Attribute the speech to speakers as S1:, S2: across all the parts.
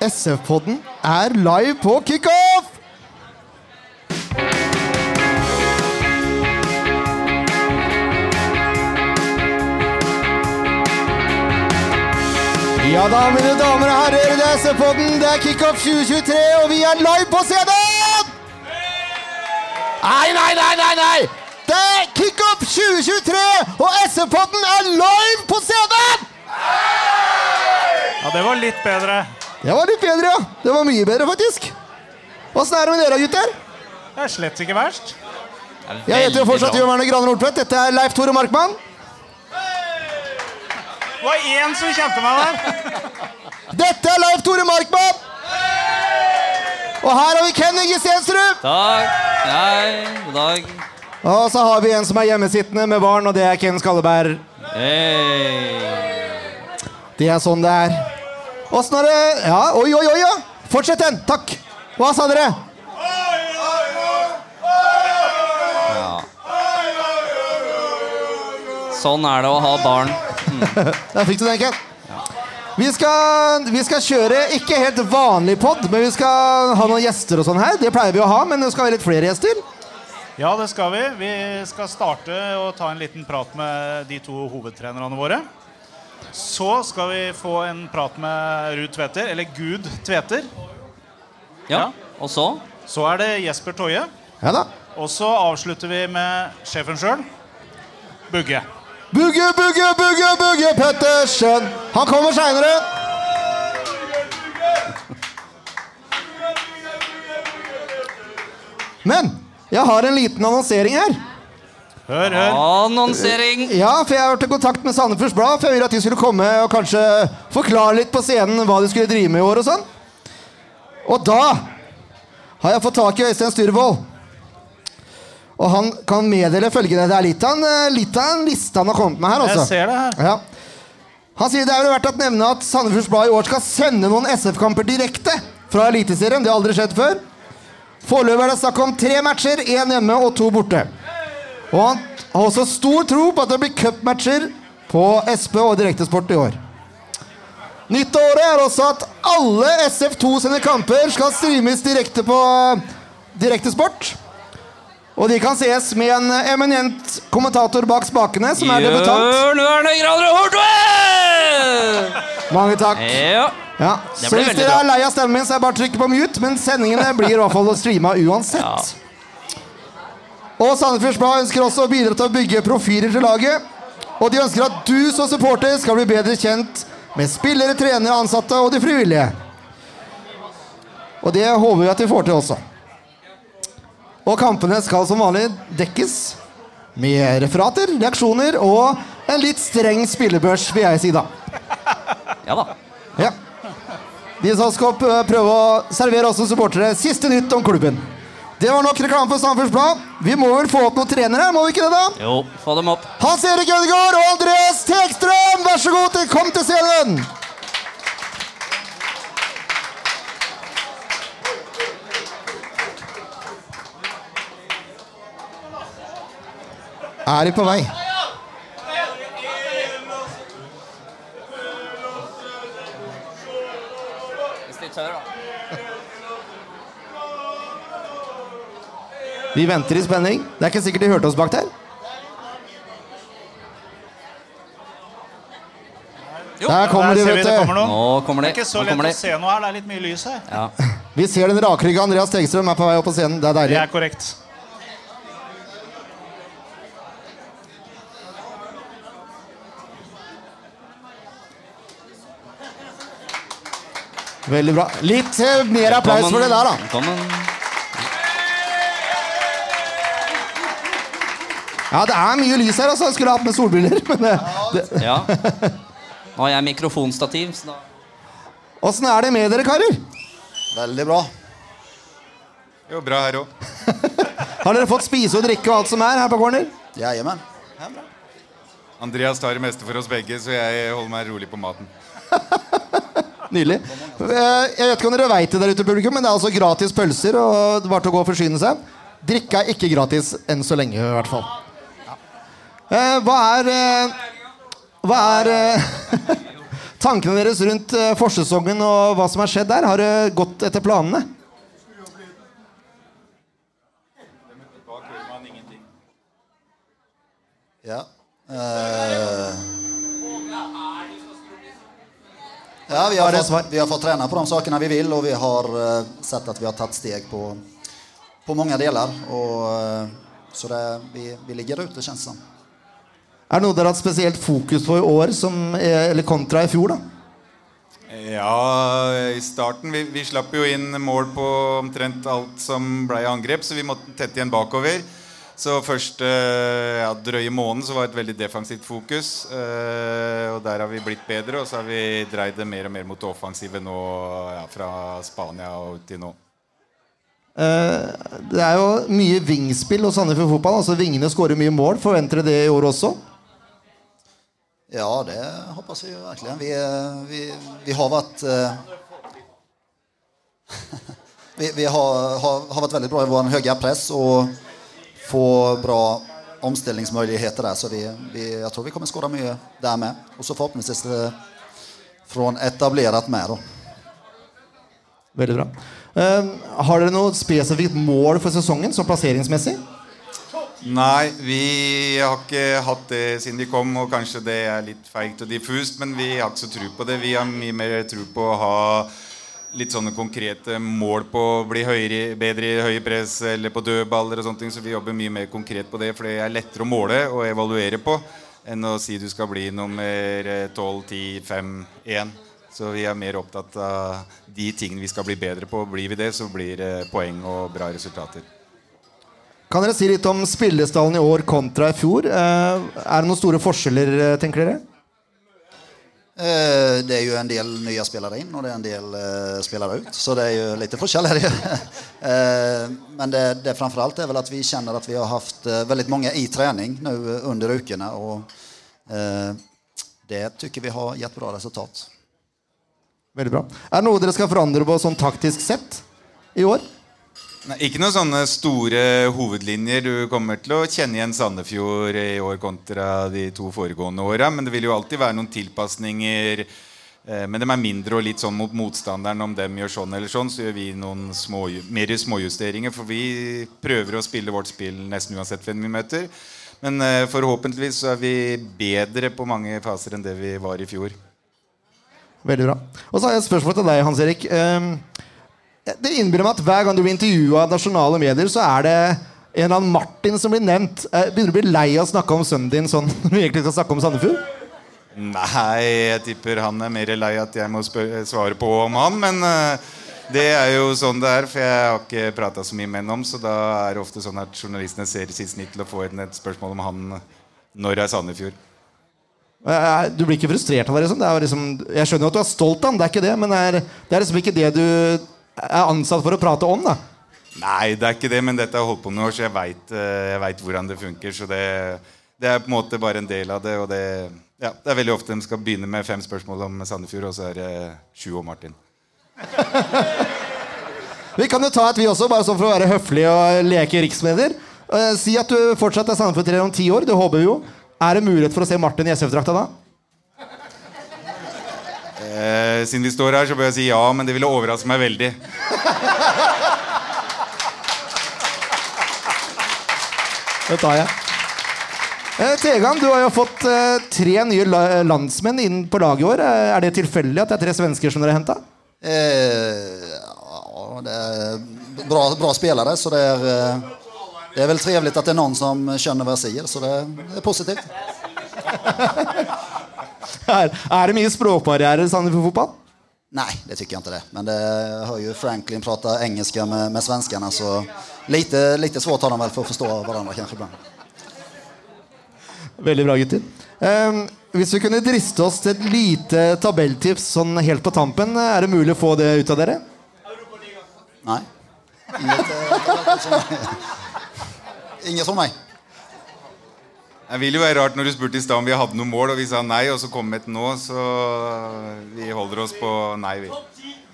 S1: SF-podden er live på kickoff! Ja da, mine damer og herrer, det er SF-podden, det er kickoff 2023, og vi er live på scenen! Nei, nei, nei, nei! nei! Det er kickoff 2023, og SF-podden er live på scenen!
S2: Ja, det var litt bedre.
S1: Det var litt bedre, ja. Det var mye bedre, faktisk. Åssen er det med dere, gutter?
S2: Det er slett ikke verst.
S1: Jeg heter jo fortsatt Jørn Werner Graner Nordtvedt. Dette er Leif Tore Markmann.
S2: Det var én som kjente meg der.
S1: Dette er Leif Tore Markmann! Og her har vi Kenny Stensrud.
S3: Takk. Nei, god dag.
S1: Og så har vi en som er hjemmesittende med barn, og det er Ken Skalleberg.
S3: Hei.
S1: Det er sånn det er. Åssen er det Ja, oi, oi, oi, ja. Fortsett den. Takk. Hva sa dere?
S3: Sånn er det å ha barn.
S1: Der fikk du den, Ken. Vi skal, vi skal kjøre ikke helt vanlig pod, men vi skal ha noen gjester og sånn her. Det pleier vi å ha, men det skal være litt flere gjester.
S2: Ja, det skal vi. Vi skal starte og ta en liten prat med de to hovedtrenerne våre. Så skal vi få en prat med Ruud Tveter, eller Gud Tveter.
S3: Ja, Og så?
S2: Så er det Jesper Toje.
S1: Ja da.
S2: Og så avslutter vi med sjefen sjøl, Bugge.
S1: Bugge, bugge, bugge, bugge Pettersen. Han kommer seinere. Men jeg har en liten annonsering her.
S2: Hør, hør.
S3: Annonsering.
S1: Ja, for Jeg har vært i kontakt med Sandefjords Blad, for jeg ville at de skulle komme og kanskje forklare litt på scenen hva de skulle drive med i år. Og sånn. Og da har jeg fått tak i Øystein Styrvold. Og han kan meddele følgende. Det er litt av en, eh, litt av en liste han har kommet med her. altså.
S2: Jeg ser det her.
S1: Ja. Han sier det er vel verdt å nevne at Sandefjords Blad i år skal sende noen SF-kamper direkte fra Eliteserien. Det har aldri skjedd før. Foreløpig er det snakk om tre matcher, én hjemme og to borte. Og han har også stor tro på at det blir cupmatcher på SP og Direktesport i år. Nytt av året er også at alle SF2 sine kamper skal streames direkte på eh, Direktesport. Og de kan sees med en eminent kommentator bak spakene, som er debutant.
S3: Jørn Werner Graner Hortvedt!
S1: Mange takk.
S3: Ja.
S1: Ja.
S3: Det
S1: Så
S3: ble
S1: hvis
S3: veldig
S1: dere
S3: bra.
S1: er lei av stemmen min, så er det bare å trykke på mute. Men sendingene blir i hvert fall streama uansett.
S3: Ja.
S1: Og Sandefjords Blad ønsker også å bidra til å bygge profiler til laget. Og de ønsker at du som supporter skal bli bedre kjent med spillere, trenere, ansatte og de frivillige. Og det håper vi at vi får til også. Og kampene skal som vanlig dekkes med referater, reaksjoner og en litt streng spillebørs, vil jeg si da.
S3: ja da.
S1: Ja. De som skal p- prøve eh, å servere oss som supportere siste nytt om klubben. Det var nok reklame for Sandefjords Blad. Vi må vel få opp noen trenere, må vi ikke det? da?
S3: Jo, få dem opp.
S1: Hans Erik Ødegaard og Andreas Tekstrøm, vær så god, til, kom til scenen! Er de på vei?
S3: Hvis de tør, da.
S1: Vi venter i spenning. Det er ikke sikkert de hørte oss bak der.
S3: Jo.
S1: Der kommer de,
S2: Der ser vi
S1: vet
S2: det
S1: du.
S2: kommer noen.
S3: Nå kommer
S2: Det
S3: de.
S2: er ikke så
S3: Nå
S2: lett
S3: kommer
S2: å
S3: de.
S2: se noe her. Det er litt mye lys her.
S3: Ja.
S1: Vi ser den rakrygga Andreas Tegstrøm er på vei opp på scenen. Det er
S2: Det
S1: deilig.
S2: er korrekt.
S1: Veldig bra. Litt eh, mer applaus for det der, da.
S3: Velkommen.
S1: Ja, det er mye lys her, altså. Jeg skulle hatt med solbriller. Men eh, det-
S3: Ja. Nå har jeg mikrofonstativ, så da
S1: åssen er det med dere, karer?
S4: Veldig bra. Jo, bra her òg.
S1: Har dere fått spise og drikke og alt som er her på corner?
S4: Jajamän. Andreas tar det meste for oss begge, så jeg holder meg rolig på maten.
S1: Nydelig. Eh, Jeg vet ikke om dere veit det der ute i publikum, men det er altså gratis pølser og det var til å gå og forsyne seg. Drikke er ikke gratis enn så lenge, i hvert fall. Eh, Hva er eh, Hva er eh, Tankene deres rundt eh, forsesongen og hva som har skjedd der, har det gått etter planene?
S5: Ja. Eh, ja, vi
S1: Har
S5: har,
S1: det
S5: fått,
S1: svar?
S5: vi har fått träna på de sakerna vi vill och vi har eh, sett att vi har tagit steg på, på många delar. Och, eh, så det, vi, vi ligger ute känns det som.
S1: Er det noe dere har hatt spesielt fokus på i år, som, eh, eller kontra i fjor? da?
S4: Ja, i starten vi, vi slapp jo inn mål på omtrent alt som ble angrep, så vi måtte tette igjen bakover. Så første eh, ja, drøye måneden så var det et veldig defensivt fokus. eh, og der har vi blitt bedre, og så har vi dreid det mer og mer mot det offensive nå ja, fra Spania og ut til nå.
S1: Eh, Det er jo mye vingspill hos Sandefjord Fotball. altså Vingene skårer mye mål. Forventer dere det i år også?
S5: Ja, det hoppas vi ju verkligen. Vi, eh, vi, vi har varit... eh, vi vi har, har, har varit väldigt bra i vår höga press och få bra omställningsmöjligheter där. Så vi, vi, jag tror vi kommer skåra mycket där med. Och så förhoppningsvis eh, från etablerat med då.
S1: Veldig bra. Eh, har dere noe spesifikt mål for sesongen, sånn plasseringsmessig?
S4: Nei, vi har ikke hatt det siden de kom, og kanskje det er litt feigt og diffust, men vi har ikke så tro på det. Vi har mye mer tro på å ha litt sånne konkrete mål på å bli høyere, bedre i høye press eller på dødballer og sånne ting, så vi jobber mye mer konkret på det, for det er lettere å måle og evaluere på enn å si du skal bli nummer eh, 12, 10, 5, 1. Så vi er mer opptatt av de tingene vi skal bli bedre på. Blir vi det, så blir det poeng og bra resultater.
S1: Kan dere si litt om spillestallen i år kontra i fjor? Eh, er det noen store forskjeller, eh, tenker dere?
S5: Eh, Det är ju en del nya spelare in och det är en del eh, spelare ut. Så det är ju lite forskjell. Är det ju. Eh, Men det, det framförallt är väl att vi känner att vi har haft eh, väldigt många i träning nu eh, under veckorna. Och eh, det tycker vi har gett bra resultat.
S1: Veldig bra. Er det noe dere skal forandre på sånn taktisk sett i år?
S4: Nei, ikke noen sånne store hovedlinjer. Du kommer til å kjenne igjen Sandefjord i år kontra de to foregående åra. Men det vil jo alltid være noen tilpasninger. Eh, Men de er mindre og litt sånn mot motstanderen. Om dem gjør sånn eller sånn, så gjør vi noen små, mer småjusteringer. For vi prøver å spille vårt spill nesten uansett hvem vi møter. Men eh, forhåpentligvis så er vi bedre på mange faser enn det vi var i fjor.
S1: Veldig bra. Og så har jeg et spørsmål til deg, Hans Erik. Eh, det innbiller meg at hver gang du blir intervjua av nasjonale medier, så er det en eller annen Martin som blir nevnt. Eh, begynner du å bli lei av å snakke om sønnen din sånn når du egentlig skal snakke om Sandefjord?
S4: Nei, jeg tipper han er mer lei at jeg må spø- svare på om han, men eh, det er jo sånn det er, for jeg har ikke prata så mye med ham om, så da er det ofte sånn at journalistene ser sitt snitt til å få inn et spørsmål om han når er Sandefjord.
S1: Eh, Du blir ikke frustrert av det? Liksom. det er jo liksom, jeg skjønner jo at du er stolt av den, det er ikke det, men det er, det er liksom ikke det du er ansatt for å prate om. da.
S4: Nei, det er ikke det, men dette har jeg holdt på med i år, så jeg veit, eh, jeg vet hvordan det funker. Så det, det er på en måte bare en del av det, og det, ja, det er veldig ofte de skal begynne med fem spørsmål om Sandefjord, og så er det sju om Martin.
S1: Vi kan jo ta et vi også, bare sånn for å være høflige og leke riksmedier. Eh, si at du fortsatt er Sandefjord-trener om ti år, det håper vi jo. Er det mulighet for å se Martin i SF-drakta da?
S4: Eh, siden vi står her, så bør jeg si ja, men det ville overraske meg veldig.
S1: Det tar jeg. Eh, Tegan, du har jo fått eh, tre nye la landsmenn inn på laget i år. Eh, er det tilfeldig at det er tre svensker som dere har henta?
S5: Eh, Ja, det är bra, bra spelare så det är, eh, det är väl trevligt att det är någon som känner vad jag säger så det det är positivt.
S1: Er, er det mye språkbarrierer i Sandefjord fotball?
S5: Nej, det tycker jag inte det. Men det jag hör ju Franklin prata engelska med, med svenskarna så lite, lite svårt har de väl för att förstå varandra kanske ibland.
S1: Veldig bra, gutter. Ehm, hvis vi kunne driste oss til et lite tabelltips sånn helt på tampen, er det mulig å få det ut av dere?
S5: Nej. Inget, eh, som, inget som mig.
S4: Det vil jo være rart når du spurte i stad om vi hadde noe mål, og vi sa nei, og så kom et nå, så vi holder oss på nei, vi.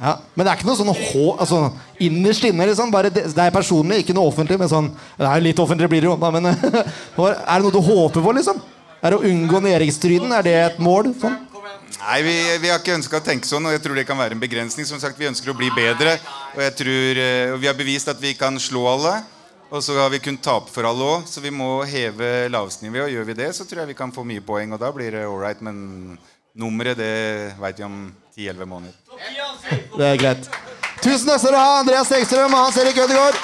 S1: Ja. Men det er ikke noe sånn hå... Altså, innerst inne, liksom. Bare det, det er personlig, ikke noe offentlig. Men sånn, det er jo litt offentlig blir det jo, da, men Er det noe du håper på, liksom? Er det å unngå nedrykkstriden? Er det et mål? Sånn?
S4: Nei, vi, vi har ikke ønska å tenke sånn, og jeg tror det kan være en begrensning. Som sagt, Vi ønsker å bli bedre, og jeg tror, eh, og vi har bevist at vi kan slå alle. Og så har vi kunnet tape for alle òg, så vi må heve lavestnivået. Og gjør vi det, så tror jeg vi kan få mye poeng, og da blir det ålreit. Men nummeret, det veit vi om 10-11 måneder.
S1: Det er greit. Tusen takk skal du ha, Andreas Hegstrøm og Hans Erik Ødegaard.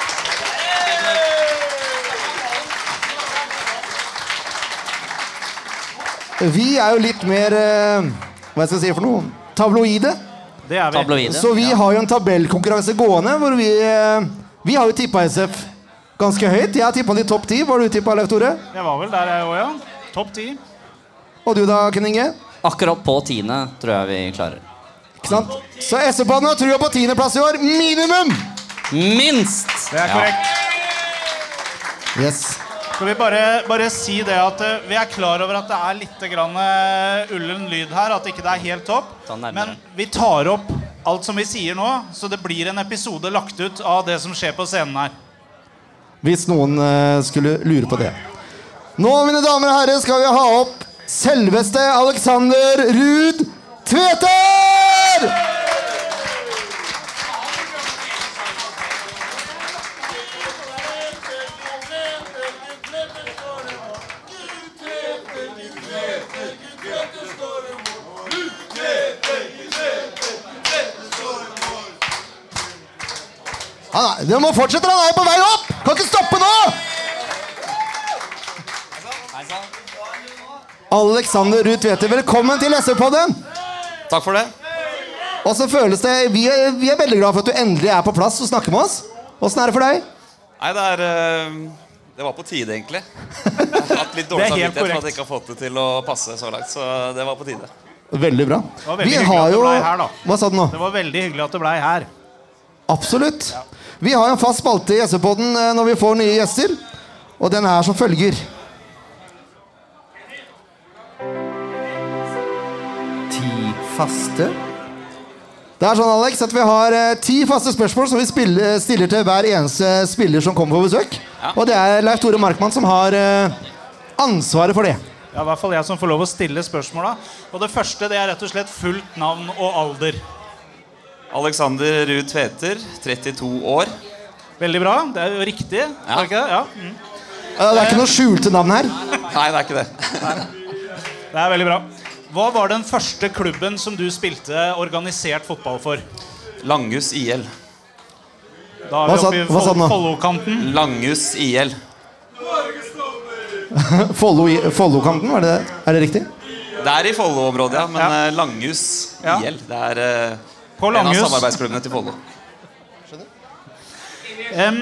S1: Vi er jo litt mer eh, Hva skal jeg si for noe? Tabloide.
S2: Det er vi.
S3: Tabloide.
S1: Så vi har jo en tabellkonkurranse gående hvor vi eh, Vi har jo tippa SF ganske høyt. Jeg har tippa de topp ti. Hva har du tippa, Leif Tore?
S2: Jeg var vel der, jeg òg, ja. Topp ti.
S1: Og du da, Ken Inge?
S3: Akkurat på tiende tror jeg vi klarer.
S1: Ikke sant? Så SV-banen har trua på tiendeplass i år. Minimum!
S3: Minst!
S2: Det er korrekt.
S1: Yes.
S2: Skal vi bare, bare si det at eh, vi er klar over at det er litt grann eh, ullen lyd her, at ikke det er helt topp.
S3: Ta den nærmere.
S2: Men vi tar opp alt som vi sier nå, så det blir en episode lagt ut av det som skjer på scenen her.
S1: Hvis noen eh, skulle lure på det. Nå, mine damer og herrer, skal vi ha opp selveste Alexander Ruud Tveter! Han er, det må fortsette, han er jo på vei opp! Kan ikke stoppe nå! Alexander Ruud Tveter, velkommen til SV-podden!
S3: Takk for det.
S1: Og så føles det, vi er, vi er veldig glad for at du endelig er på plass og snakker med oss. Åssen er det for deg?
S6: Nei, det er eh, Det var på tide, egentlig. Jeg har hatt litt
S2: Det
S6: dårlig
S2: er helt
S6: samvittighet for at
S2: korrekt.
S6: jeg ikke har fått det til å passe så langt. Så det var på tide.
S1: Veldig bra.
S2: var veldig hyggelig at du ble her, da.
S1: Hva sa du nå?
S2: Det var veldig hyggelig at du blei her.
S1: Absolutt. Vi har en fast spalte i SV-podden eh, når vi får nye gjester, og den er som følger. Ti faste? Det er sånn, Alex, at vi har eh, ti faste spørsmål som vi spiller, eh, stiller til hver eneste spiller som kommer på besøk. Og det er Leif Tore Markmann som har eh, ansvaret for det. Eh,
S2: Ja, i hvert fall jeg som får lov å stille spørsmåla. Og det første det er rett og slett fullt navn og alder.
S6: Alexander Ruud Tveter, 32 år.
S2: Veldig bra. Det er jo riktig. Ja. Er det ikke det? Ja. Mm.
S1: Eh, Det er ikke noe skjulte navn her.
S6: Nei, det er ikke det.
S2: Det er veldig bra. Hva var den første klubben som du spilte organisert fotball for?
S6: Langhus IL.
S2: Da
S1: Hva
S2: er vi
S1: sa-
S2: oppe i
S1: hva sa den
S2: Fol-
S1: nå?
S2: Follo-kanten.
S6: Langhus IL.
S1: Follo i- Follo-kanten, var det det? Er det riktig?
S6: Det er i Follo-området, ja. Men
S2: Ja.
S6: eh, Langhus
S2: Ja.
S6: IL, det er eh,
S2: På
S6: en av
S2: Langhus.
S6: samarbeidsklubbene til Follo.
S2: Em,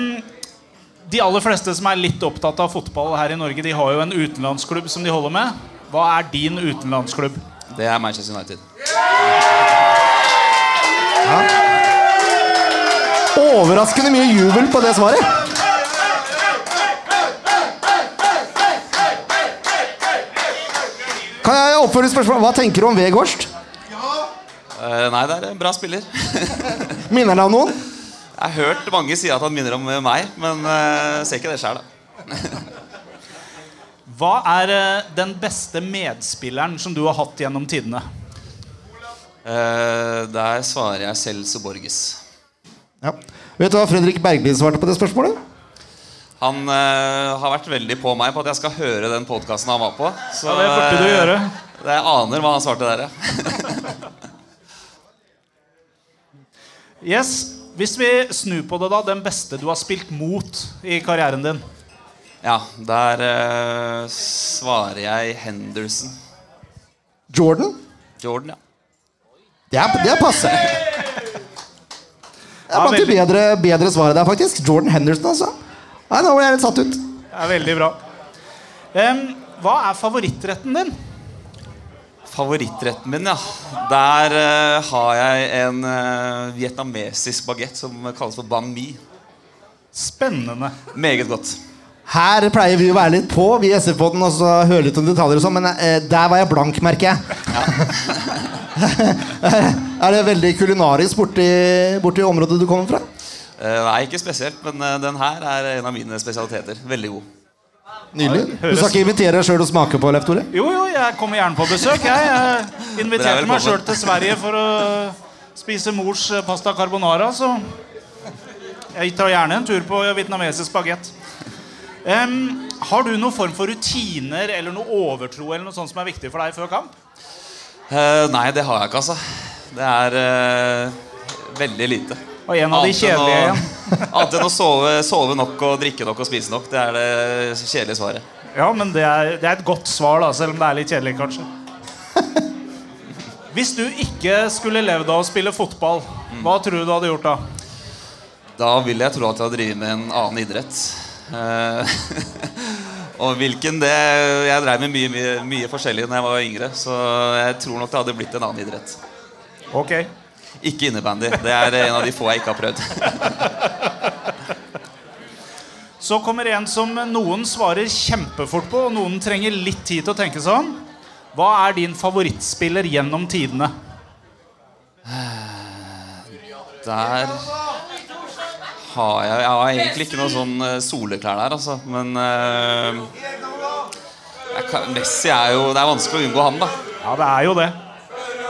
S2: de aller fleste som er litt opptatt av fotball her i Norge, de har jo en utenlandsklubb som de holder med. Hva er din utenlandsklubb?
S6: Det er Manchester United.
S1: Overraskende mye jubel på det svaret. Kan jeg oppfordre spørsmål? Hva tenker du om Vegårst?
S6: Eh, nei, det er en bra spiller.
S1: Minner han deg om noen?
S6: Jeg har hørt mange si at han minner om eh, meg, men eh, ser ikke det sjøl, da.
S2: Hva er eh, den beste medspilleren som du har hatt gjennom tidene?
S6: Eh, der svarer jeg Celso Borges.
S1: Ja. Vet du hva Fredrik Berglid svarte på det spørsmålet?
S6: Han eh, har vært veldig på meg på at jeg skal høre den podkasten han var på. Så
S2: Ja, det burde du
S6: eh,
S2: gjøre.
S6: det- Jeg aner hva han svarte der, ja.
S2: Yes, Hvis vi snur på det, da. Den beste du har spilt mot i karrieren din.
S6: ja der eh, svarer jeg Henderson.
S1: Jordan?
S6: Jordan, ja.
S1: Det er, det er passe. Det er blant de
S2: veldig.
S1: bedre, bedre svaret der, faktisk. Jordan Henderson, altså. Nei, nå ble jeg litt satt ut.
S2: Det er veldig bra. Em, hva er favorittretten din?
S6: Favorittretten min, ja. Der eh, har jeg en eh, vietnamesisk bagett som kalles for banh mi.
S2: Spennende.
S6: Meget godt.
S1: Her pleier vi å være litt på, vi i SF-podden, og så høre litt om detaljer og sånn, men eh, der var jeg blank, merker jeg. er det veldig kulinarisk borti, borti området du kommer fra?
S6: Eh, nei, ikke spesielt, men eh, den her er en av mine spesialiteter. Veldig god.
S1: Nydelig. Du skal
S2: høres-
S1: ikke invitere deg sjøl og smake på, Leif Tore?
S2: Jo, jo, jeg kommer gjerne på besøk. Jeg, jeg
S6: Dere er
S2: inviterte meg
S6: velkommen.
S2: sjøl til Sverige for å spise mors eh, pasta carbonara, så jeg tar gjerne en tur på vietnamesisk bagett. har du noen form for rutiner eller noe overtro eller noe sånt som er viktig for deg før kamp?
S6: Eh, nei, det har jeg ikke, altså. Det er eh, veldig lite.
S2: Og en av de
S6: Annet enn å-
S2: kjedelige igjen.
S6: Annet enn å sove, sove nok og drikke nok og spise nok. Det er det kjedelige svaret.
S2: Ja, men det er, det er et godt svar, da, selv om det er litt kjedelig, kanskje. Hvis du ikke skulle levd av å spille fotball, hva tror du du hadde gjort da?
S6: Da vil jeg tro at jeg driver med en annen idrett. Eh, og hvilken det Jeg drev med mye, mye, mye forskjellig da jeg var yngre, så jeg tror nok det hadde blitt en annen idrett.
S2: Ok.
S6: Ikke innebandy. Det er en av de få jeg ikke har prøvd.
S2: Så kommer en som noen svarer kjempefort på, og noen trenger litt tid til å tenke seg om. Hva er din favorittspiller gjennom tidene?
S6: Der har jeg Jeg har egentlig ikke noen sånn eh, soleklær der, altså. Men eh, jeg kan, Messi er jo Det er vanskelig å unngå han, da.
S2: Ja, det er jo det.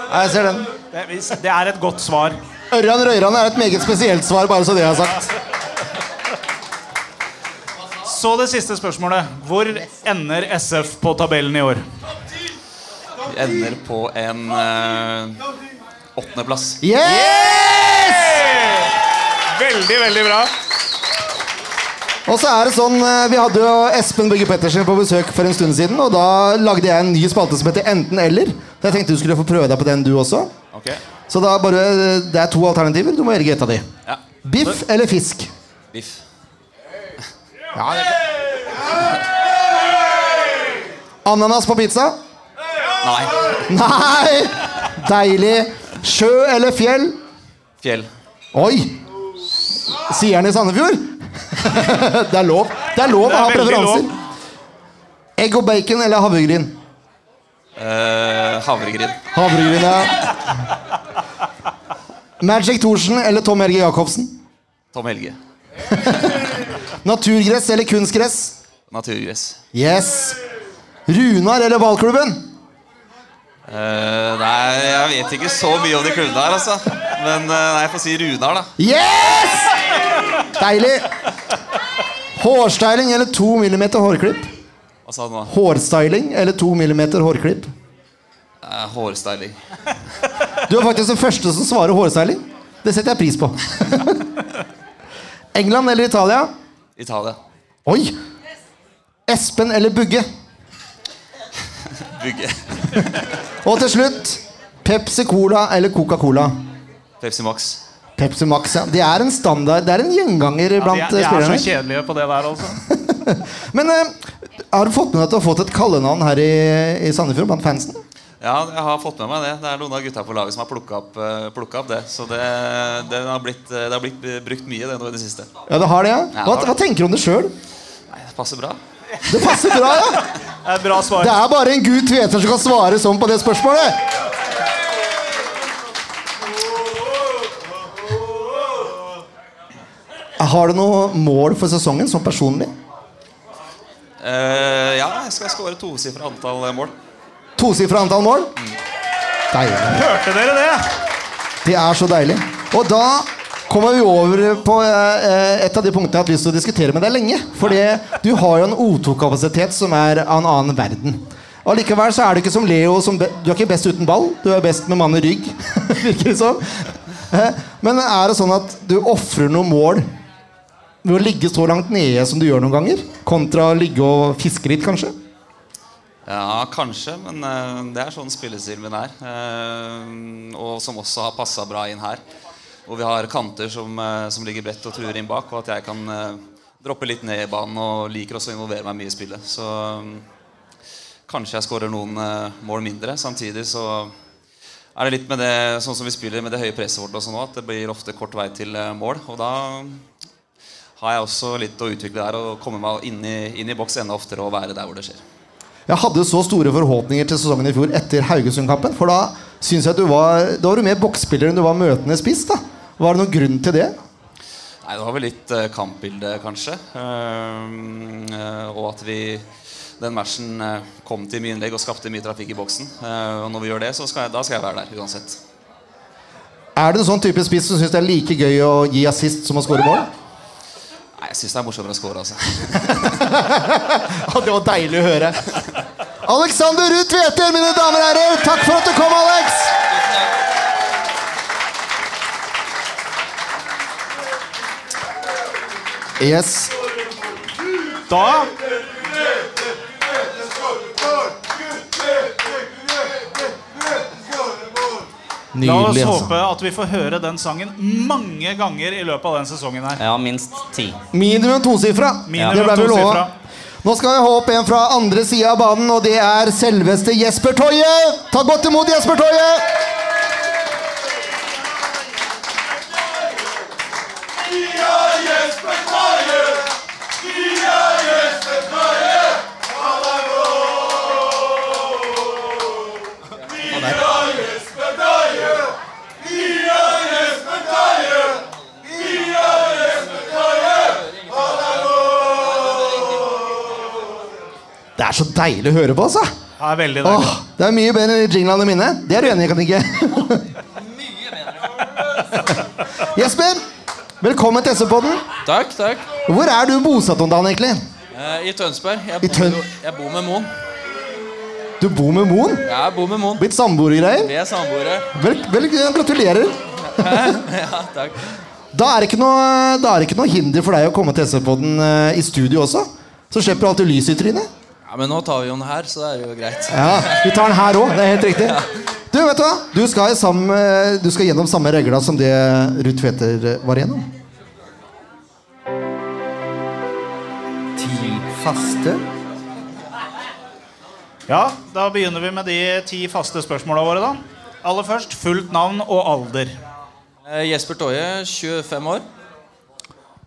S1: Ja, jeg ser den.
S2: Det det er et godt svar.
S1: Ørjan Røyran er et meget spesielt svar, bare så det er sagt.
S2: Så det siste spørsmålet. Hvor ender SF på tabellen i år?
S6: Vi ender på en eh, åttendeplass.
S1: Yes!
S2: Veldig, veldig bra.
S1: Og så er det sånn, eh, Vi hadde jo Espen Børge Pettersen på besøk for en stund siden. Og da lagde jeg en ny spalte som heter Enten-eller. Jeg tenkte du skulle få prøve deg på den, du også.
S6: Ok.
S1: Så da bare, eh, det er to alternativer. Du må velge et av de.
S6: Ja.
S1: Biff eller fisk?
S6: Biff.
S1: Ananas på pizza?
S6: Nei.
S1: Nei! Deilig. Sjø eller fjell?
S6: Fjell.
S1: Oi! Sier han i Sandefjord? det er lov. Det er lov å
S2: Det er
S1: ha
S2: veldig
S1: preferanser.
S2: lov.
S1: Egg og bacon eller havregryn?
S6: Eh, havregryn.
S1: Havregryn, ja. Magic Thorsen eller Tom Helge Jacobsen?
S6: Tom Helge.
S1: Naturgress eller kunstgress?
S6: Naturgress.
S1: Yes. Runar eller ballklubben?
S6: Eh, nei, jeg vet ikke så mye om de klubbene her, altså. Men eh, nei, jeg får si Runar, da.
S1: Yes! Deilig. Hårstyling eller to millimeter hårklipp?
S6: Hva sa han nå?
S1: Hårstyling eller to millimeter hårklipp?
S6: Eh, hårstyling.
S1: Du er faktisk den første som svarer hårstyling. Det setter jeg pris på. England eller Italia?
S6: Italia.
S1: Oi! Espen eller Bugge?
S6: Bygge.
S1: Og til slutt Pepsi Cola eller Coca-Cola?
S6: Pepsi Max.
S1: Pepsi Max, ja. Det er en standard, det er en gjenganger
S2: Ja, de,
S1: blant
S2: er,
S1: eh,
S2: de er så
S1: spillerne.
S2: kjedelige på det der, altså.
S1: Men eh, har du fått med deg at du har fått et kallenavn her i, i Sandefjord blant fansen?
S6: Ja, jeg har fått med meg det. Det er noen av gutta på laget som har plukka opp, eh, plukket opp det. Så det, det, har blitt, eh, det har blitt eh, brukt mye det nå i det siste.
S1: Ja, det har det, ja.
S6: Ja,
S1: Hva,
S6: det har
S1: hva tenker du om det sjøl?
S6: Nei, det passer bra.
S1: Det passer bra, ja.
S2: Det er et bra svar.
S1: Det er bare en gud tveter som kan svare sånn på det spørsmålet. Har du noe mål for sesongen, sånn personlig?
S6: Eh, ja, jeg skal skåre tosifra antall eh, mål. Mm.
S1: Tosifra antall mål? Deilig.
S2: Hørte dere det?
S1: Det er så deilig. Og da kommer vi over på eh, eh, et av de punktene jeg har hatt lyst til å diskutere med deg lenge. Fordi du har jo en O2-kapasitet som er av en annen verden. Allikevel så er du ikke som Leo som be Du er ikke best uten ball, du er best med mann i rygg. Virker det som. Eh, Men er det sånn at du ofrer noen mål ved å ligge så langt nede som du gjør noen ganger? Kontra å ligge og fiske litt, kanskje?
S6: Ja, kanskje, men eh, det er sånn spillestilen min er. eh, og som også har passa bra inn her. Og vi har kanter som, eh, som ligger bredt og truer inn bak, og at jeg kan eh, droppe litt ned i banen og liker også å involvere meg mye i spillet. Så mm, kanskje jeg skårer noen eh, mål mindre. Samtidig så er det litt med det sånn som vi spiller med det høye presset vårt sånn også nå, at det blir ofte kort vei til eh, mål. Og da har jeg også litt å utvikle der og komme meg inn i, inn i boks enda oftere og være der hvor det skjer.
S1: Jeg hadde så store forhåpninger til sesongen i fjor etter Haugesund-kampen. For da syns jeg at du var Da var du mer boksspiller enn du var møtende spiss. da Var det noen grunn til det?
S6: Nei, Nei, det var vel litt eh, kampbilde, kanskje. Ehm, eh, og at vi den matchen eh, kom til mye innlegg og skapte mye trafikk i boksen. Eh, og når vi gjør det, så skal jeg, da skal jeg være der uansett.
S1: Er det en sånn type spiss som syns det er like gøy å gi assist som å score mål?
S6: Nei, jeg syns det er morsommere å score, altså.
S1: Ja, det var deilig å høre. Alexander Ruud Tveter, mine damer og herrer, takk for at du kom, Alex. Yes.
S2: Da La oss
S1: Nydelig,
S2: håpe
S1: altså.
S2: at vi får høre den sangen mange ganger i løpet av den sesongen her.
S3: Ja, minst ti.
S1: Minimum tosifra.
S2: Minimum
S1: det ble vi lova.
S2: tosifra.
S1: Nå skal vi ha opp en fra andre sida av banen, og det er selveste Jesper Toje. Ta godt imot Jesper Toje! Det er så deilig å høre på, altså.
S2: Det er veldig
S1: Åh,
S2: deilig.
S1: det er mye bedre enn jinglene mine. Det er du enig i, kan ikke? Jesper, velkommen til SV-podden.
S7: Takk, takk.
S1: Hvor er du bosatt om dagen, egentlig?
S7: Eh, I Tønsberg.
S1: I
S7: Jeg bor,
S1: Tøn-
S7: jo- jeg bor med Moen.
S1: Du bor med Moen?
S7: Jeg bor med Moen.
S1: Blitt samboer og greier?
S7: Vi er samboere.
S1: Vel, vel, gratulerer.
S7: Ja, takk.
S1: Da er det ikke noe, da er det ikke noe hinder for deg å komme til SV-podden eh, i studio også. Så slipper du alltid lys i trynet.
S7: Ja, Men nå tar vi jo den her, så da er det jo greit.
S1: Ja, Vi tar den her òg. Det er helt riktig. Du, vet du hva? Du skal, i samme, du skal gjennom samme regla som det Ruud Tveter eh, var igjennom. Ti faste
S2: Ja, Da begynner vi med de ti faste spørsmåla våre, da. Aller først fullt navn og alder.
S7: Eh, Jesper Toje, 25 år.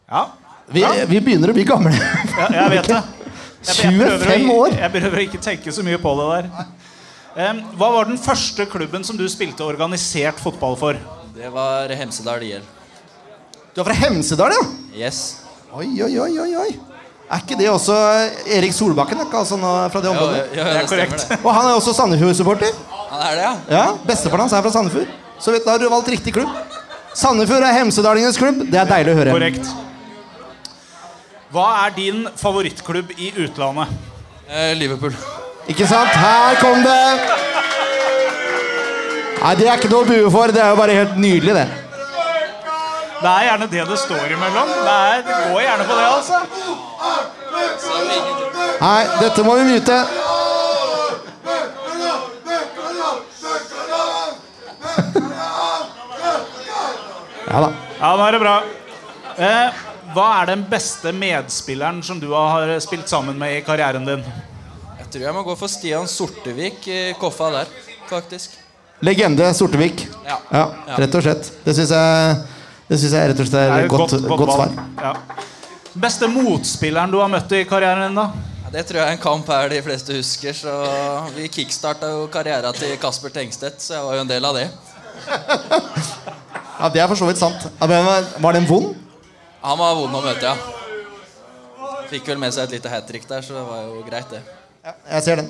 S2: Ja,
S1: vi, vi begynner å bli gamle.
S2: ja jeg vet det. Jeg, jeg prøver
S1: 25
S2: å-
S1: år?
S2: Jeg prøver å ikke tenke så mye på det der. Em, hva var den første klubben som du spilte organisert fotball for?
S7: Det var Hemsedal IL.
S1: Du er fra Hemsedal, ja?
S7: Yes.
S1: Oi, oi, oi. oi, oi. Er ikke det også Erik Solbakken? er Ikke altså nå fra det
S7: Jo,
S1: området?
S7: jo, det stemmer det.
S1: Og han er også Sandefjord-supporter.
S7: Han er det, ja?
S1: Ja, Bestefaren hans er fra Sandefjord. Så vet du, da har du valgt riktig klubb. Sandefjord er hemsedalningenes klubb. Det er deilig å høre.
S2: Korrekt. Hva er din favorittklubb i utlandet?
S7: Eh, Liverpool.
S1: Ikke sant? Her kom det! Nei, det er ikke noe å bue for. Det er jo bare helt nydelig, det.
S2: Det er gjerne det det står imellom. Det, er, det går gjerne på det, altså.
S1: Nei, dette må vi mute. Ja da.
S2: Ja, nå er det bra. Eh, hva er den beste medspilleren som du har spilt sammen med i karrieren din?
S7: Jeg tror jeg må gå for Stian Sortevik i Koffa der, faktisk.
S1: Legende Sortevik.
S7: Ja.
S1: Ja, rett og slett. Det syns jeg, det synes jeg rett og slett er,
S2: Det er
S1: et godt, godt,
S2: valg.
S1: svar.
S2: Ja. Beste motspilleren du har møtt i karrieren din, da?
S7: Ja, Det tror jeg er en kamp her de fleste husker, så vi kickstarta jo karriera til Kasper Tengstedt, så jeg var jo en del av det.
S1: Ja, Det er for så vidt sant. Ja, men var- Var den vond?
S7: Han var vond å møte, ja. Fikk vel med seg et lite hat trick der, så det var jo greit, det.
S1: Ja, jeg ser den.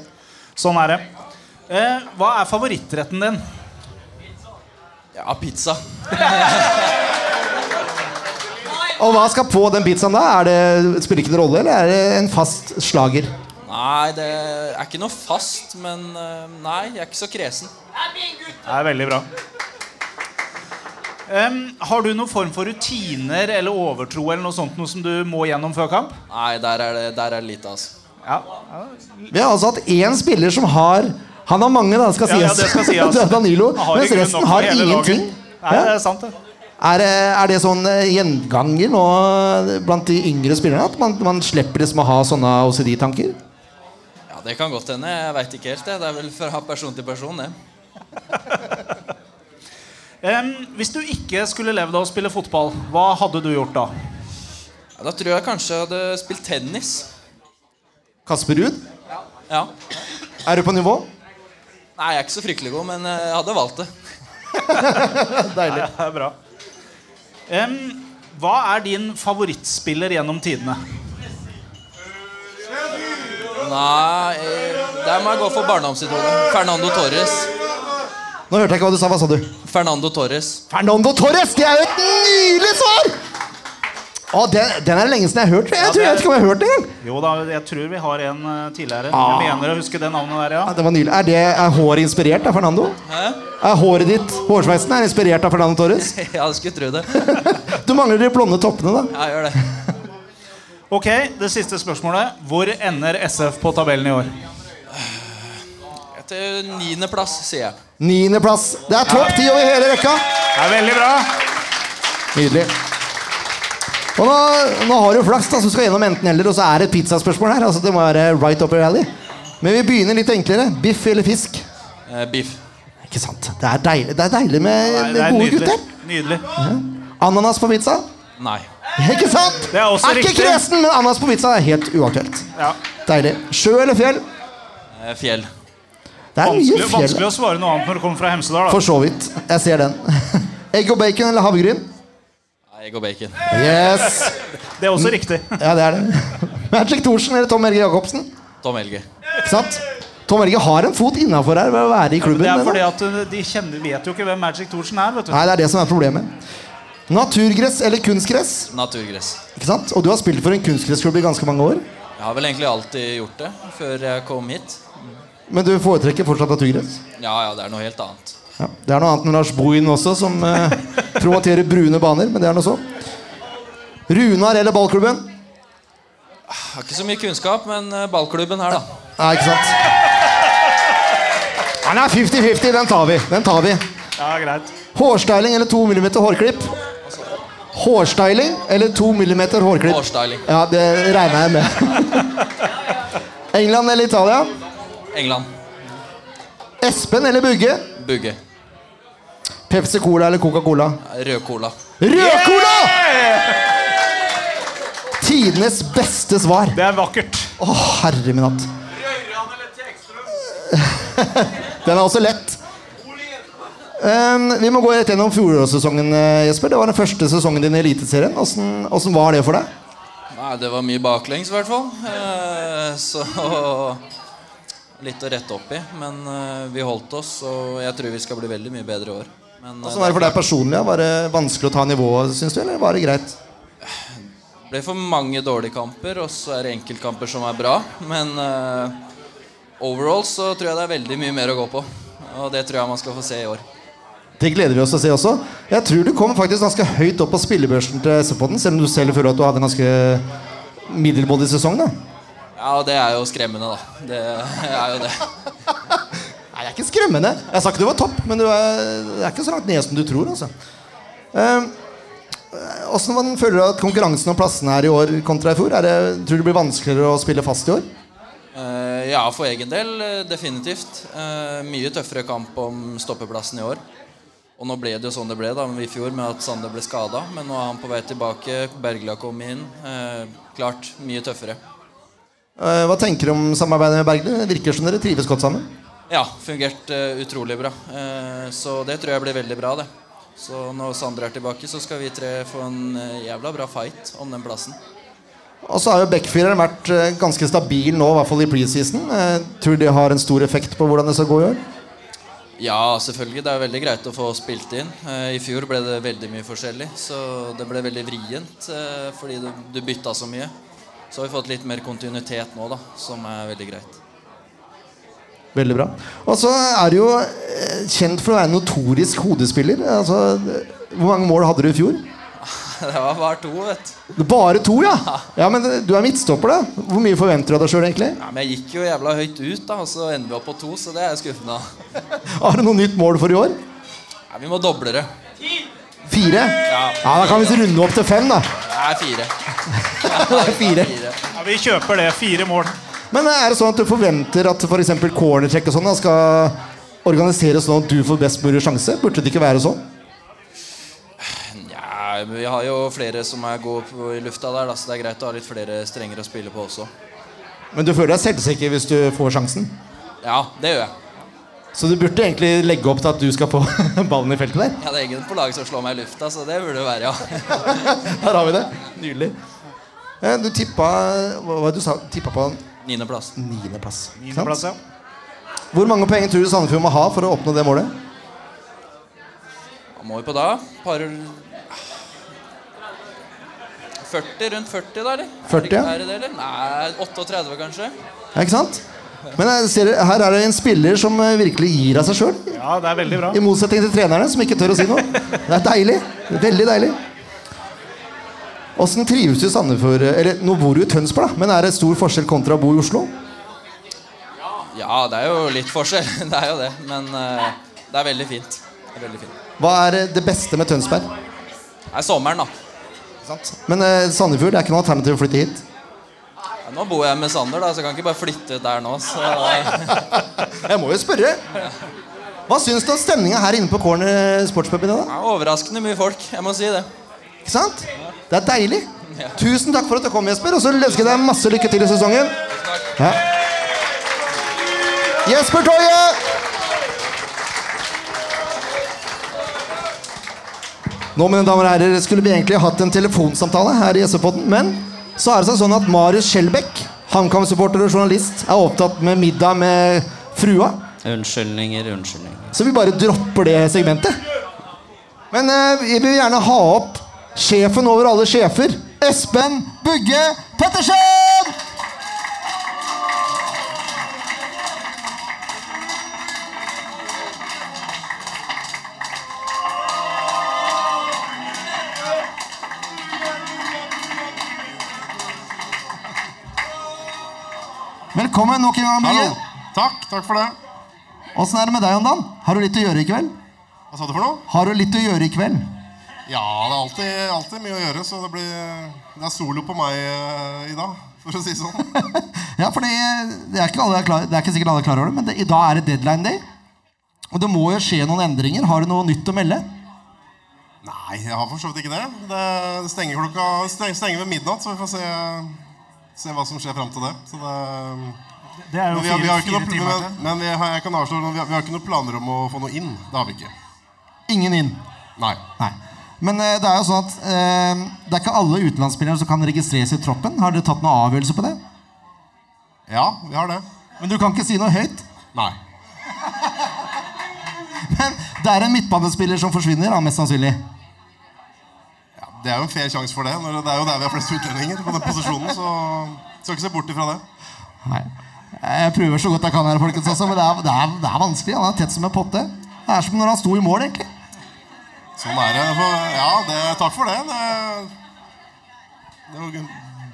S2: Sånn er det. Eh, hva er favorittretten din?
S7: Ja, pizza.
S1: Og hva skal på den pizzaen da? Er det, spiller ikke noen rolle, eller er det en fast slager?
S7: Nei, det er ikke noe fast, men eh, nei, jeg er ikke så kresen.
S2: Det er veldig bra. Em, har du noen form for rutiner eller overtro eller noe sånt noe som du må gjennom før kamp?
S7: Nei, der er det, der er det lite, altså.
S2: Ja, ja
S1: Vi har altså hatt én spiller som har Han har mange, da, skal
S2: Ja, ja,
S1: sies.
S2: det skal sies.
S1: Det er Danilo.
S2: Han har i
S1: Mens
S2: grunnen nok
S1: resten
S2: for
S1: har
S2: hele
S1: ingenting.
S2: dagen. Nei,
S1: Ja.
S2: det er sant, det.
S1: Er, det- er det sånn eh, gjenganger nå eh, blant de yngre spillerne? At man, man slipper liksom å ha sånne OCD-tanker?
S7: Ja, Det kan godt hende. Jeg veit ikke helt. Det Det er vel fra person til person, det.
S2: Em, hvis du ikke skulle levd av å spille fotball, hva hadde du gjort da?
S7: Ja, da tror jeg kanskje jeg hadde spilt tennis.
S1: Kasper Ruud,
S7: Ja.
S1: er du på nivå?
S7: Nei, jeg er ikke så fryktelig god, men eh, jeg hadde valgt det.
S2: Det er bra. Em, Hva er din favorittspiller gjennom tidene?
S7: Nei, eh, der må jeg gå for barndomsidolen. Fernando Torres.
S1: Nå hørte jeg ikke hva du sa. Hva sa du?
S7: Fernando Torres.
S1: Fernando Torres! Det er jo et nydelig svar! Å, den, den er det lenge siden jeg har hørt. Jeg tror jeg vet ikke om jeg har hørt den engang.
S2: Jo da, jeg tror vi har en eh, tidligere.
S1: Ah.
S2: Jeg mener å huske det navnet der,
S1: Ja,
S2: ja.
S1: det var nydelig. Er, det, er håret inspirert av Fernando?
S7: Hæ?
S1: Er håret ditt, hårsveisen, er inspirert av Fernando Torres?
S7: Ja, du skulle tro det.
S1: Du mangler de blonde toppene, da.
S7: Jeg gjør det.
S2: Ok, det siste spørsmålet. Hvor ender SF på tabellen i år?
S7: Til niendeplass, sier jeg.
S1: Niendeplass. Det er topp ti over hele rekka.
S2: Det er veldig bra.
S1: Nydelig. Og nå, nå har du flaks, da, så du skal gjennom enten eller, og så er det et pizzaspørsmål her. Altså, det må være right up your alley. Men vi begynner litt enklere. Biff eller fisk?
S7: Eh, beef.
S1: Ikke sant? Det er deilig, det er deilig med,
S2: Nei,
S1: med
S2: det er
S1: gode
S2: nydelig.
S1: gutter.
S2: Nydelig.
S1: Ananas på pizza?
S7: Nei.
S1: Ikke sant?
S2: Det er også
S1: ikke
S2: riktig.
S1: kresen, men ananas på pizza er helt uaktuelt.
S2: Ja.
S1: Deilig. Sjø eller fjell?
S7: Eh, fjell.
S1: Det er mye
S2: Vanskelig,
S1: fjell.
S2: vanskelig å svare noe annet når du kommer fra Hemsedal.
S1: For
S2: Da.
S1: så vidt. Jeg ser den. Egg og bacon eller havregryn?
S7: Nei, Egg og bacon.
S1: Yes!
S2: Det er også riktig.
S1: Ja, det er det. Magic Thorsen eller Tom Helge Jacobsen?
S7: Tom Helge.
S1: Ikke sant? Tom Helge har en fot innafor her ved å være i klubben.
S2: Det er
S1: mener
S2: fordi
S1: jeg.
S2: at uh, de kjenner, vet jo ikke hvem Magic Thorsen er. vet du.
S1: Nei, det er det som er problemet. Naturgress eller kunstgress?
S7: Naturgress.
S1: Ikke sant? Og du har spilt for en kunstgressklubb i ganske mange år.
S7: Jeg har vel egentlig alltid gjort det, før jeg kom hit.
S1: Men du foretrekker fortsatt naturgress?
S7: Ja, ja, det er noe helt annet.
S1: Ja. Det er noe annet enn Lars Bohin også, som eh, promoterer brune baner. Men det er noe så. Runar eller ballklubben?
S7: Jeg har ikke så mye kunnskap, men eh, ballklubben her, da.
S1: Nei, ikke sant? Nei, nei, 50-50. Den tar vi. Den tar vi.
S2: Ja, greit.
S1: Hårstyling eller 2 mm hårklipp? Hårstyling eller 2 mm hårklipp?
S7: Hårstyling.
S1: Ja, det regner jeg med. England eller Italia?
S7: England.
S1: Espen eller Bugge?
S7: Bugge.
S1: Pepsi Cola eller Coca-Cola?
S7: Rød cola.
S1: Rød-cola! Tidenes beste svar.
S2: Det er vakkert.
S1: Å, herre min hatt. Den er også lett. Ehm, vi må gå rett gjennom fjorårssesongen, eh, Jesper. Det var den første sesongen din i Eliteserien. Åssen åssen var det for deg?
S7: Nei, det var mye baklengs i hvert fall. Eh, Så litt å rette opp i. Men eh, vi holdt oss, og jeg tror vi skal bli veldig mye bedre i år. Men eh,
S1: Åssen var det for deg personlig? da? Var det vanskelig å ta nivået, syns du, eller var det greit?
S7: det ble for mange dårlige kamper, og så er det enkeltkamper som er bra. Men eh, overall så tror jeg det er veldig mye mer å gå på. Og det tror jeg man skal få se i år.
S1: Det gleder vi oss til å se også. Jeg tror du kom faktisk ganske høyt opp på spillebørsen til SV-podden, selv om du selv føler at du hadde en ganske middelmådig sesong, da.
S7: Ja, og det er jo skremmende, da. Det er jo det.
S1: Nei, det er ikke skremmende. Jeg sa ikke du var topp, men du er, det er ikke så langt ned som du tror. altså. Ehm, Åssen man føler du at konkurransen om plassene er i år kontra i fjor? Er det, tror du det blir vanskeligere å spille fast i år?
S7: Eh, ja, for egen del, eh, definitivt. Eh, mye tøffere kamp om stoppeplassen i år. Og nå ble det jo sånn det ble da, i fjor, med at Sander ble skada. Men nå er han på vei tilbake. Bergla kom inn. Eh, klart, mye tøffere.
S1: Eh, hva tenker du om samarbeidet med Bergli? Det virker som dere trives godt sammen.
S7: Ja, fungert eh, utrolig bra. Eh, så det tror jeg blir veldig bra, det. Så når Sander er tilbake, så skal vi tre få en eh, jævla bra fight om den plassen.
S1: Og så har jo backfireren vært eh, ganske stabil nå, i hvert fall i preseason. Eh, tror du det har en stor effekt på hvordan det skal gå i år?
S7: Ja, selvfølgelig. Det er veldig greit å få spilt inn. Eh, I fjor ble det veldig mye forskjellig, så det ble veldig vrient eh, fordi du, du bytta så mye. Så har vi fått litt mer kontinuitet nå, da, som er veldig greit.
S1: Veldig bra. Og så er du jo eh, kjent for å være en notorisk hodespiller. Altså, hvor mange mål hadde du i fjor?
S7: Det var bare to, vet du.
S1: Bare to, ja? Ja, men Du er midtstopper, da. Hvor mye forventer du av deg sjøl, egentlig?
S7: Ja, men jeg gikk jo jævla høyt ut, da, og så ender vi opp på to, så det er jeg skuffende av.
S1: Har du noe nytt mål for i år?
S7: Nei, vi må doble det.
S1: Fire? Ja, Da kan vi runde opp til fem, da.
S7: Nei, fire.
S1: Det er fire.
S7: fire.
S2: Ja, vi kjøper det. Fire mål.
S1: Men er det sånn at du forventer at f.eks. cornertrekk og sånn da skal organiseres sånn at du får best mulig sjanse? Burde det ikke være sånn?
S7: Nja, Mm, men vi har jo flere som er gode på- i lufta der, da, så det er greit å ha litt flere strenger å spille på også.
S1: Men du føler deg selvsikker hvis du får sjansen?
S7: Ja, det gjør jeg.
S1: Så du burde egentlig legge opp til at du skal få ballen i feltet der.
S7: Jeg hadde ingen på laget som slår meg i lufta, så det burde det være, ja.
S1: Her har vi det. Nydelig. Eh, Du tippa Hva var det du sa? Tippa på
S7: Niendeplass.
S1: niendeplass. ikke sant?
S2: Niendeplass, ja.
S1: Hvor mange poeng tror du Sandefjord må ha for å oppnå det målet?
S7: Hva må vi på da? Par 40? Rundt 40, da, eller? Er
S1: 40,
S7: det ikke
S1: ja.
S7: her i det, eller? Nei, 38, kanskje?
S1: Ja, ikke sant? Men jeg ser, her er det en spiller som eh, virkelig gir av seg sjøl.
S2: Ja, det er veldig bra.
S1: I motsetning til trenerne, som ikke tør å si noe. Det er deilig. Veldig deilig. Åssen trives du i Sandefjord eh, Eller nå bor du i Tønsberg, da, men er det stor forskjell kontra å bo i Oslo?
S7: Ja, det er jo litt forskjell. Det er jo det. Men eh, det er veldig fint. Det er veldig fint.
S1: Hva er eh, det beste med Tønsberg?
S7: Det er sommeren, da.
S1: Men eh, Sandefjord det er ikke noe alternativ å flytte hit.
S7: Ja, Nå bor jeg med Sander, da, så jeg kan ikke bare flytte ut der nå. Så eh,
S1: Jeg må jo spørre. Hva syns du om stemninga her inne på Corner sportspub i dag?
S7: det er overraskende mye folk. Jeg må si det.
S1: da? Ikke sant? Det er deilig. Tusen takk for at du kom, Jesper, og så ønsker jeg deg masse lykke til i sesongen. Ja. Jesper Toje! Nå, mine damer og herrer, skulle vi egentlig hatt en telefonsamtale her i SV-podden, men så er det seg sånn at Marius Skjelbæk, HamKam-supporter og journalist, er opptatt med middag med frua.
S3: Unnskyldninger, unnskyldninger.
S1: Så vi bare dropper det segmentet. Men eh, vi vil gjerne ha opp sjefen over alle sjefer. Espen Bugge Pettersen! Velkommen nok en gang, Bugge.
S8: Hallo. Takk, takk for det.
S1: Åssen er det med deg om dagen? Har du litt å gjøre i kveld?
S8: Hva sa du for noe?
S1: Har du litt å gjøre i kveld?
S8: Ja, det er alltid, alltid mye å gjøre, så det blir Det er solo på meg eh, i dag, for å si det sånn.
S1: ja, for det, det, er ikke alle er klar, det er ikke sikkert alle er klar over det, men det, i dag er det deadline day. Og det må jo skje noen endringer. Har du noe nytt å melde?
S8: Nei, jeg har for så vidt ikke det. Det, det stenger klokka det steng- stenger ved midnatt, så vi får se, se hva som skjer fram til det. Så det
S9: Det er
S8: men
S9: jo
S8: vi har, vi har
S9: fire,
S8: ikke noe,
S9: fire timer til.
S8: men, men vi har, jeg kan avslå, noe, vi, har, vi har ikke noen planer om å få noe inn. Det har vi ikke.
S1: Ingen inn.
S8: Nei.
S1: Nei. Men eh, det er jo sånn at eh, det er ikke alle utenlandsspillere som kan registreres i troppen. Har dere tatt noen avgjørelse på det?
S8: Ja, vi har det.
S1: Men du kan ikke si noe høyt.
S8: Nei.
S1: Men det er en midtbanespiller som forsvinner, da, mest sannsynlig.
S8: Ja, det er jo en fair sjanse for det. Når det det er jo der vi har flest utlendinger på den posisjonen, så skal ikke se bort ifra det.
S1: Nei. Jeg prøver så godt jeg kan her, folkens, altså, men det er, det, er, det er vanskelig. Han er tett som en potte. Det er som når han sto i mål, egentlig.
S8: Sånn er det. For- Ja, det, takk for det. det. Det er jo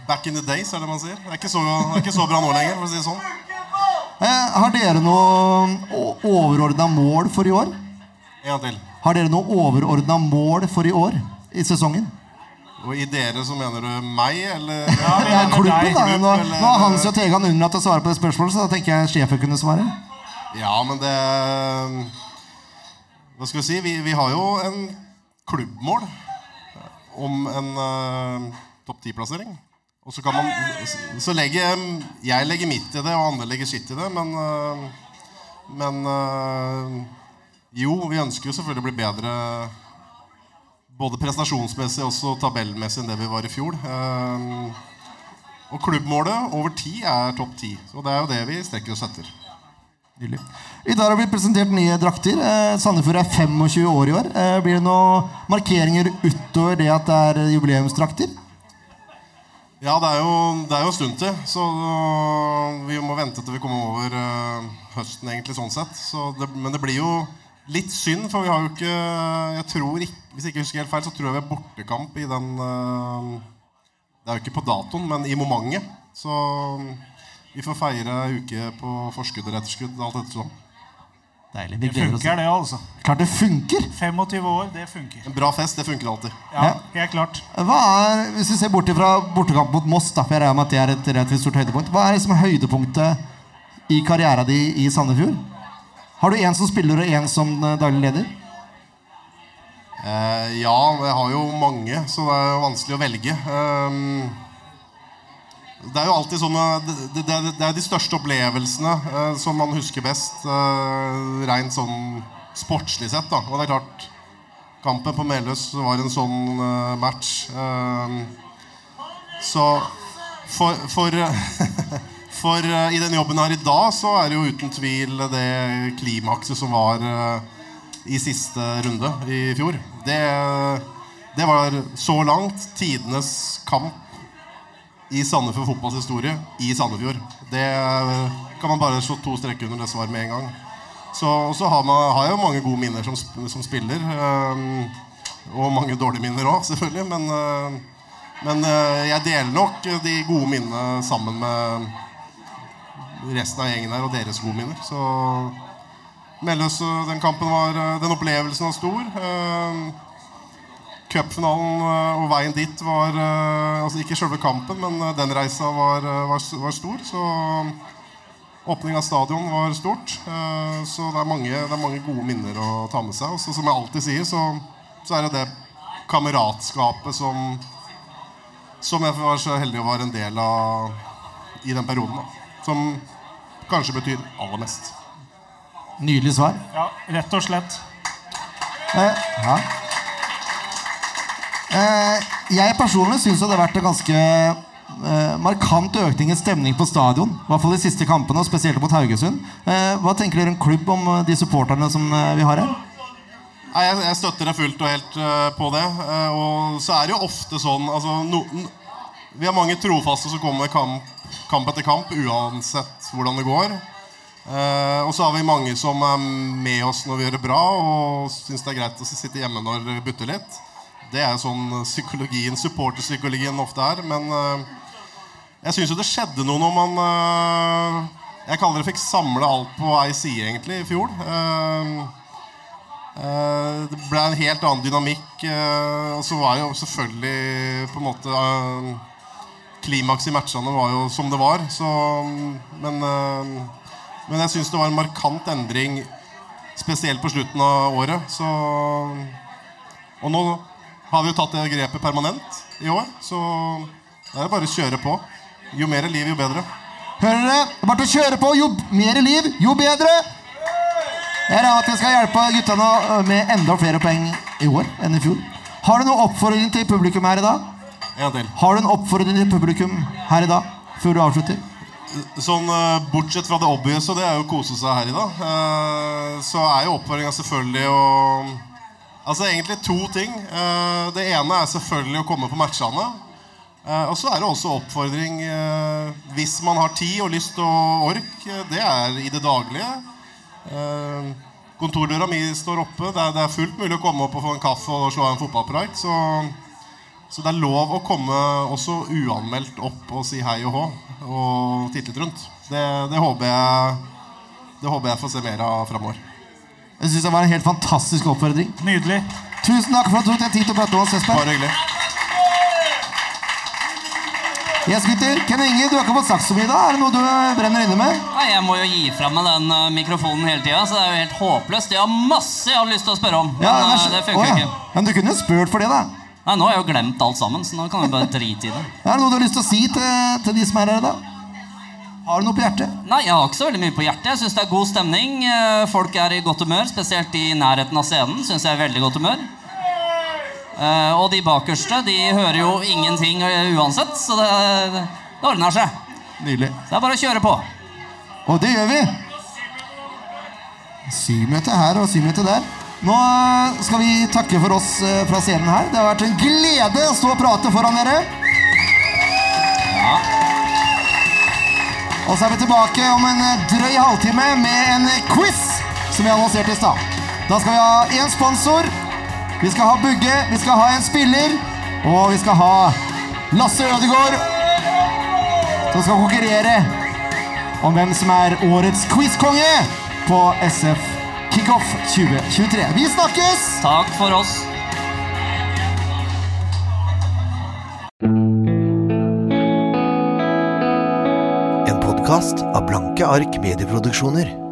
S8: back in the days, er det man sier. Det er ikke så, det er ikke så bra nå lenger, for å si det sånn.
S1: Eh, har dere noe overordna mål for i år?
S8: En gang til.
S1: Har dere noe overordna mål for i år i sesongen?
S8: Og i dere så mener du meg, eller
S1: Ja, klubben, da. Nå,
S8: Klubb, eller-
S1: nå har Hans og Tegan unnlatt å svare på det spørsmålet, så da tenker jeg sjefen kunne svare.
S8: Ja, men det Hva skal vi si? Vi, vi har jo en klubbmål om en eh, topp 10-plassering. Og så kan man Så legger jeg legger mitt i det, og andre legger sitt i det, men eh, Men eh, jo, vi ønsker jo selvfølgelig å bli bedre både prestasjonsmessig og også tabellmessig enn det vi var i fjor. Eh, og klubbmålet over tid er topp ti. Så det er jo det vi strekker oss etter.
S1: Nydelig. I dag har det blitt presentert nye drakter. Eh, Sandefjord er 25 år i år. Eh, blir det noen markeringer utover det at det er jubileumsdrakter?
S8: Ja, det er jo, det er jo en stund til, så vi må vente til vi kommer over eh, høsten, egentlig, sånn sett. Så det, men det blir jo litt synd, for vi har jo ikke jeg tror ikke, Hvis jeg ikke husker helt feil, så tror jeg vi har bortekamp i den eh, Det er jo ikke på datoen, men i momentet. Så mm, vi får feire ei uke på forskudd og etterskudd, alt ettersom.
S1: Deilig. Vi
S9: Det
S1: gleder oss.
S9: funker, det, altså.
S1: Klart det funker!
S9: 25 år, det funker.
S8: En bra fest, det funker alltid.
S9: Ja, helt klart.
S1: Hva er, hvis vi ser bort fra bortekamp mot Moss, da, for jeg regner med at det er et relativt stort høydepunkt, hva er liksom høydepunktet i karriera di i Sandefjord? Har du én som spiller og én som eh, daglig leder?
S8: Eh, ja, jeg har jo mange, så det er jo vanskelig å velge. Ehm, Det er jo alltid sånn eh, det, det, det, det er de største opplevelsene eh, som man husker best, eh, rent sånn sportslig sett. da. Og det er klart, kampen på Meløs var en sånn eh, match. Eh, så for, for, for eh, i den jobben her i dag, så er det jo uten tvil det klimakset som var eh, i siste runde i fjor. Det, det var så langt tidenes kamp i Sandefjord fotballs historie i Sandefjord. Det eh, kan man bare slå to streker under det svaret med en gang. Så, og så har, man, har jeg jo mange gode minner som, sp- som spiller. ehm, og mange dårlige minner òg, selvfølgelig. Men, eh, men eh, jeg deler nok de gode minnene sammen med resten av gjengen her og deres gode minner. Så Melløs, eh, den kampen var eh, Den opplevelsen var stor. ehm, Cupfinalen eh, og veien dit var eh, Altså ikke selve kampen, men eh, den reisa var, eh, var, var stor. Så åpning av stadion var stort. eh, Så det er mange, det er mange gode minner å ta med seg. Og så som jeg alltid sier, så, så er det det kameratskapet som Som jeg var så heldig å være en del av i den perioden. Da. Som kanskje betyr aller mest.
S1: Nydelig svar.
S2: Ja, rett og slett.
S1: Eh, ja. eh, jeg personlig syns det har vært en ganske eh, markant økning i stemning på stadion. I hvert fall de siste kampene, og spesielt mot Haugesund. Eh, hva tenker dere om klubb om eh, de supporterne som eh, vi har her?
S8: Nei, jeg, jeg støtter deg fullt og helt eh, på det. Eh, og så er det jo ofte sånn altså, no, n- Vi har mange trofaste som kommer kamp, kamp etter kamp, uansett hvordan det går. Eh, og så har vi mange som er med oss når vi gjør det bra, og syns det er greit å sitte hjemme når det butter litt. Det er jo sånn psykologien, supporterpsykologien ofte er. Men eh, jeg syns jo det skjedde noe når man eh, Jeg kaller det fikk samle alt på ei side, egentlig, i fjor. Eh, Eh, Det ble en helt annen dynamikk. eh, Og så var det jo selvfølgelig på en måte eh, Klimaks i matchene var jo som det var. Så, men, eh, men jeg syns det var en markant endring, spesielt på slutten av året. Så, og nå har vi jo tatt det grepet permanent i år, så det er bare å kjøre på. Jo mer liv, jo bedre.
S1: Hører dere? Det er bare til å kjøre på. Jo mer liv, jo bedre. Jeg regner med at vi skal hjelpe guttene eh, med enda flere poeng i år enn i fjor. Har du noen oppfordring til publikum her i dag?
S8: En gang til.
S1: Har du en oppfordring til publikum her i dag, før du avslutter?
S8: Sånn, eh, Bortsett fra det obvious, og det er jo å kose seg her i dag, eh, så er jo oppfordringa selvfølgelig å Altså egentlig to ting. Eh, Det ene er selvfølgelig å komme på matchene. Eh, Og så er det også oppfordring eh, hvis man har tid og lyst og ork. eh, Det er i det daglige. Eh, Kontordøra mi står oppe. Det er, det er fullt mulig å komme opp og få en kaffe og slå av en fotballpreik. Så, så det er lov å komme også uanmeldt opp og si hei og hå og titte litt rundt. Det, det, håper jeg, det håper jeg får se mer av framover.
S1: Jeg syns det var en helt fantastisk oppfordring.
S2: Nydelig.
S1: Tusen takk for at du tok deg tid til å prate med oss, Espen.
S8: Bare hyggelig.
S1: Yes, gutter. Ken Inge, du har ikke fått sagt så mye i dag. Er det noe du brenner inne med?
S10: Nei, jeg må jo gi fra meg den eh, mikrofonen hele tida, så det er jo helt håpløst. Jeg har masse jeg har lyst til å spørre om, men
S1: Ja,
S10: eh,
S1: vær så-
S10: det funker
S1: Å, ja.
S10: ikke.
S1: Men du kunne jo spurt for det, da.
S10: Nei, Nå har jeg jo glemt alt sammen, så nå kan jeg bare drite i det.
S1: Er det noe du har lyst til å si til, til de som er her i dag? Har du noe på hjertet?
S10: Nei, jeg har ikke så veldig mye på hjertet. Jeg syns det er god stemning. Eh, Folk er i godt humør, spesielt i nærheten av scenen. Synes jeg er veldig godt humør. Eh, Og de bakerste, de hører jo ingenting eh, uansett, så det, det ordner seg.
S1: Nydelig.
S10: Så det er bare å kjøre på.
S1: Og det gjør vi. Symøte her og symøte der. Nå eh, skal vi takke for oss eh, fra scenen her. Det har vært en glede å stå og prate foran dere. Og så er vi tilbake om en eh, drøy halvtime med en eh, quiz som vi annonserte i stad. Da skal vi ha én sponsor, vi skal ha Bugge, vi skal ha en spiller, og vi skal ha Lasse Ødegaard, som skal konkurrere om hvem som er årets quizkonge på SF Kickoff 2023. Vi snakkes!
S10: Takk for oss.
S11: En podkast av Blanke ark medieproduksjoner.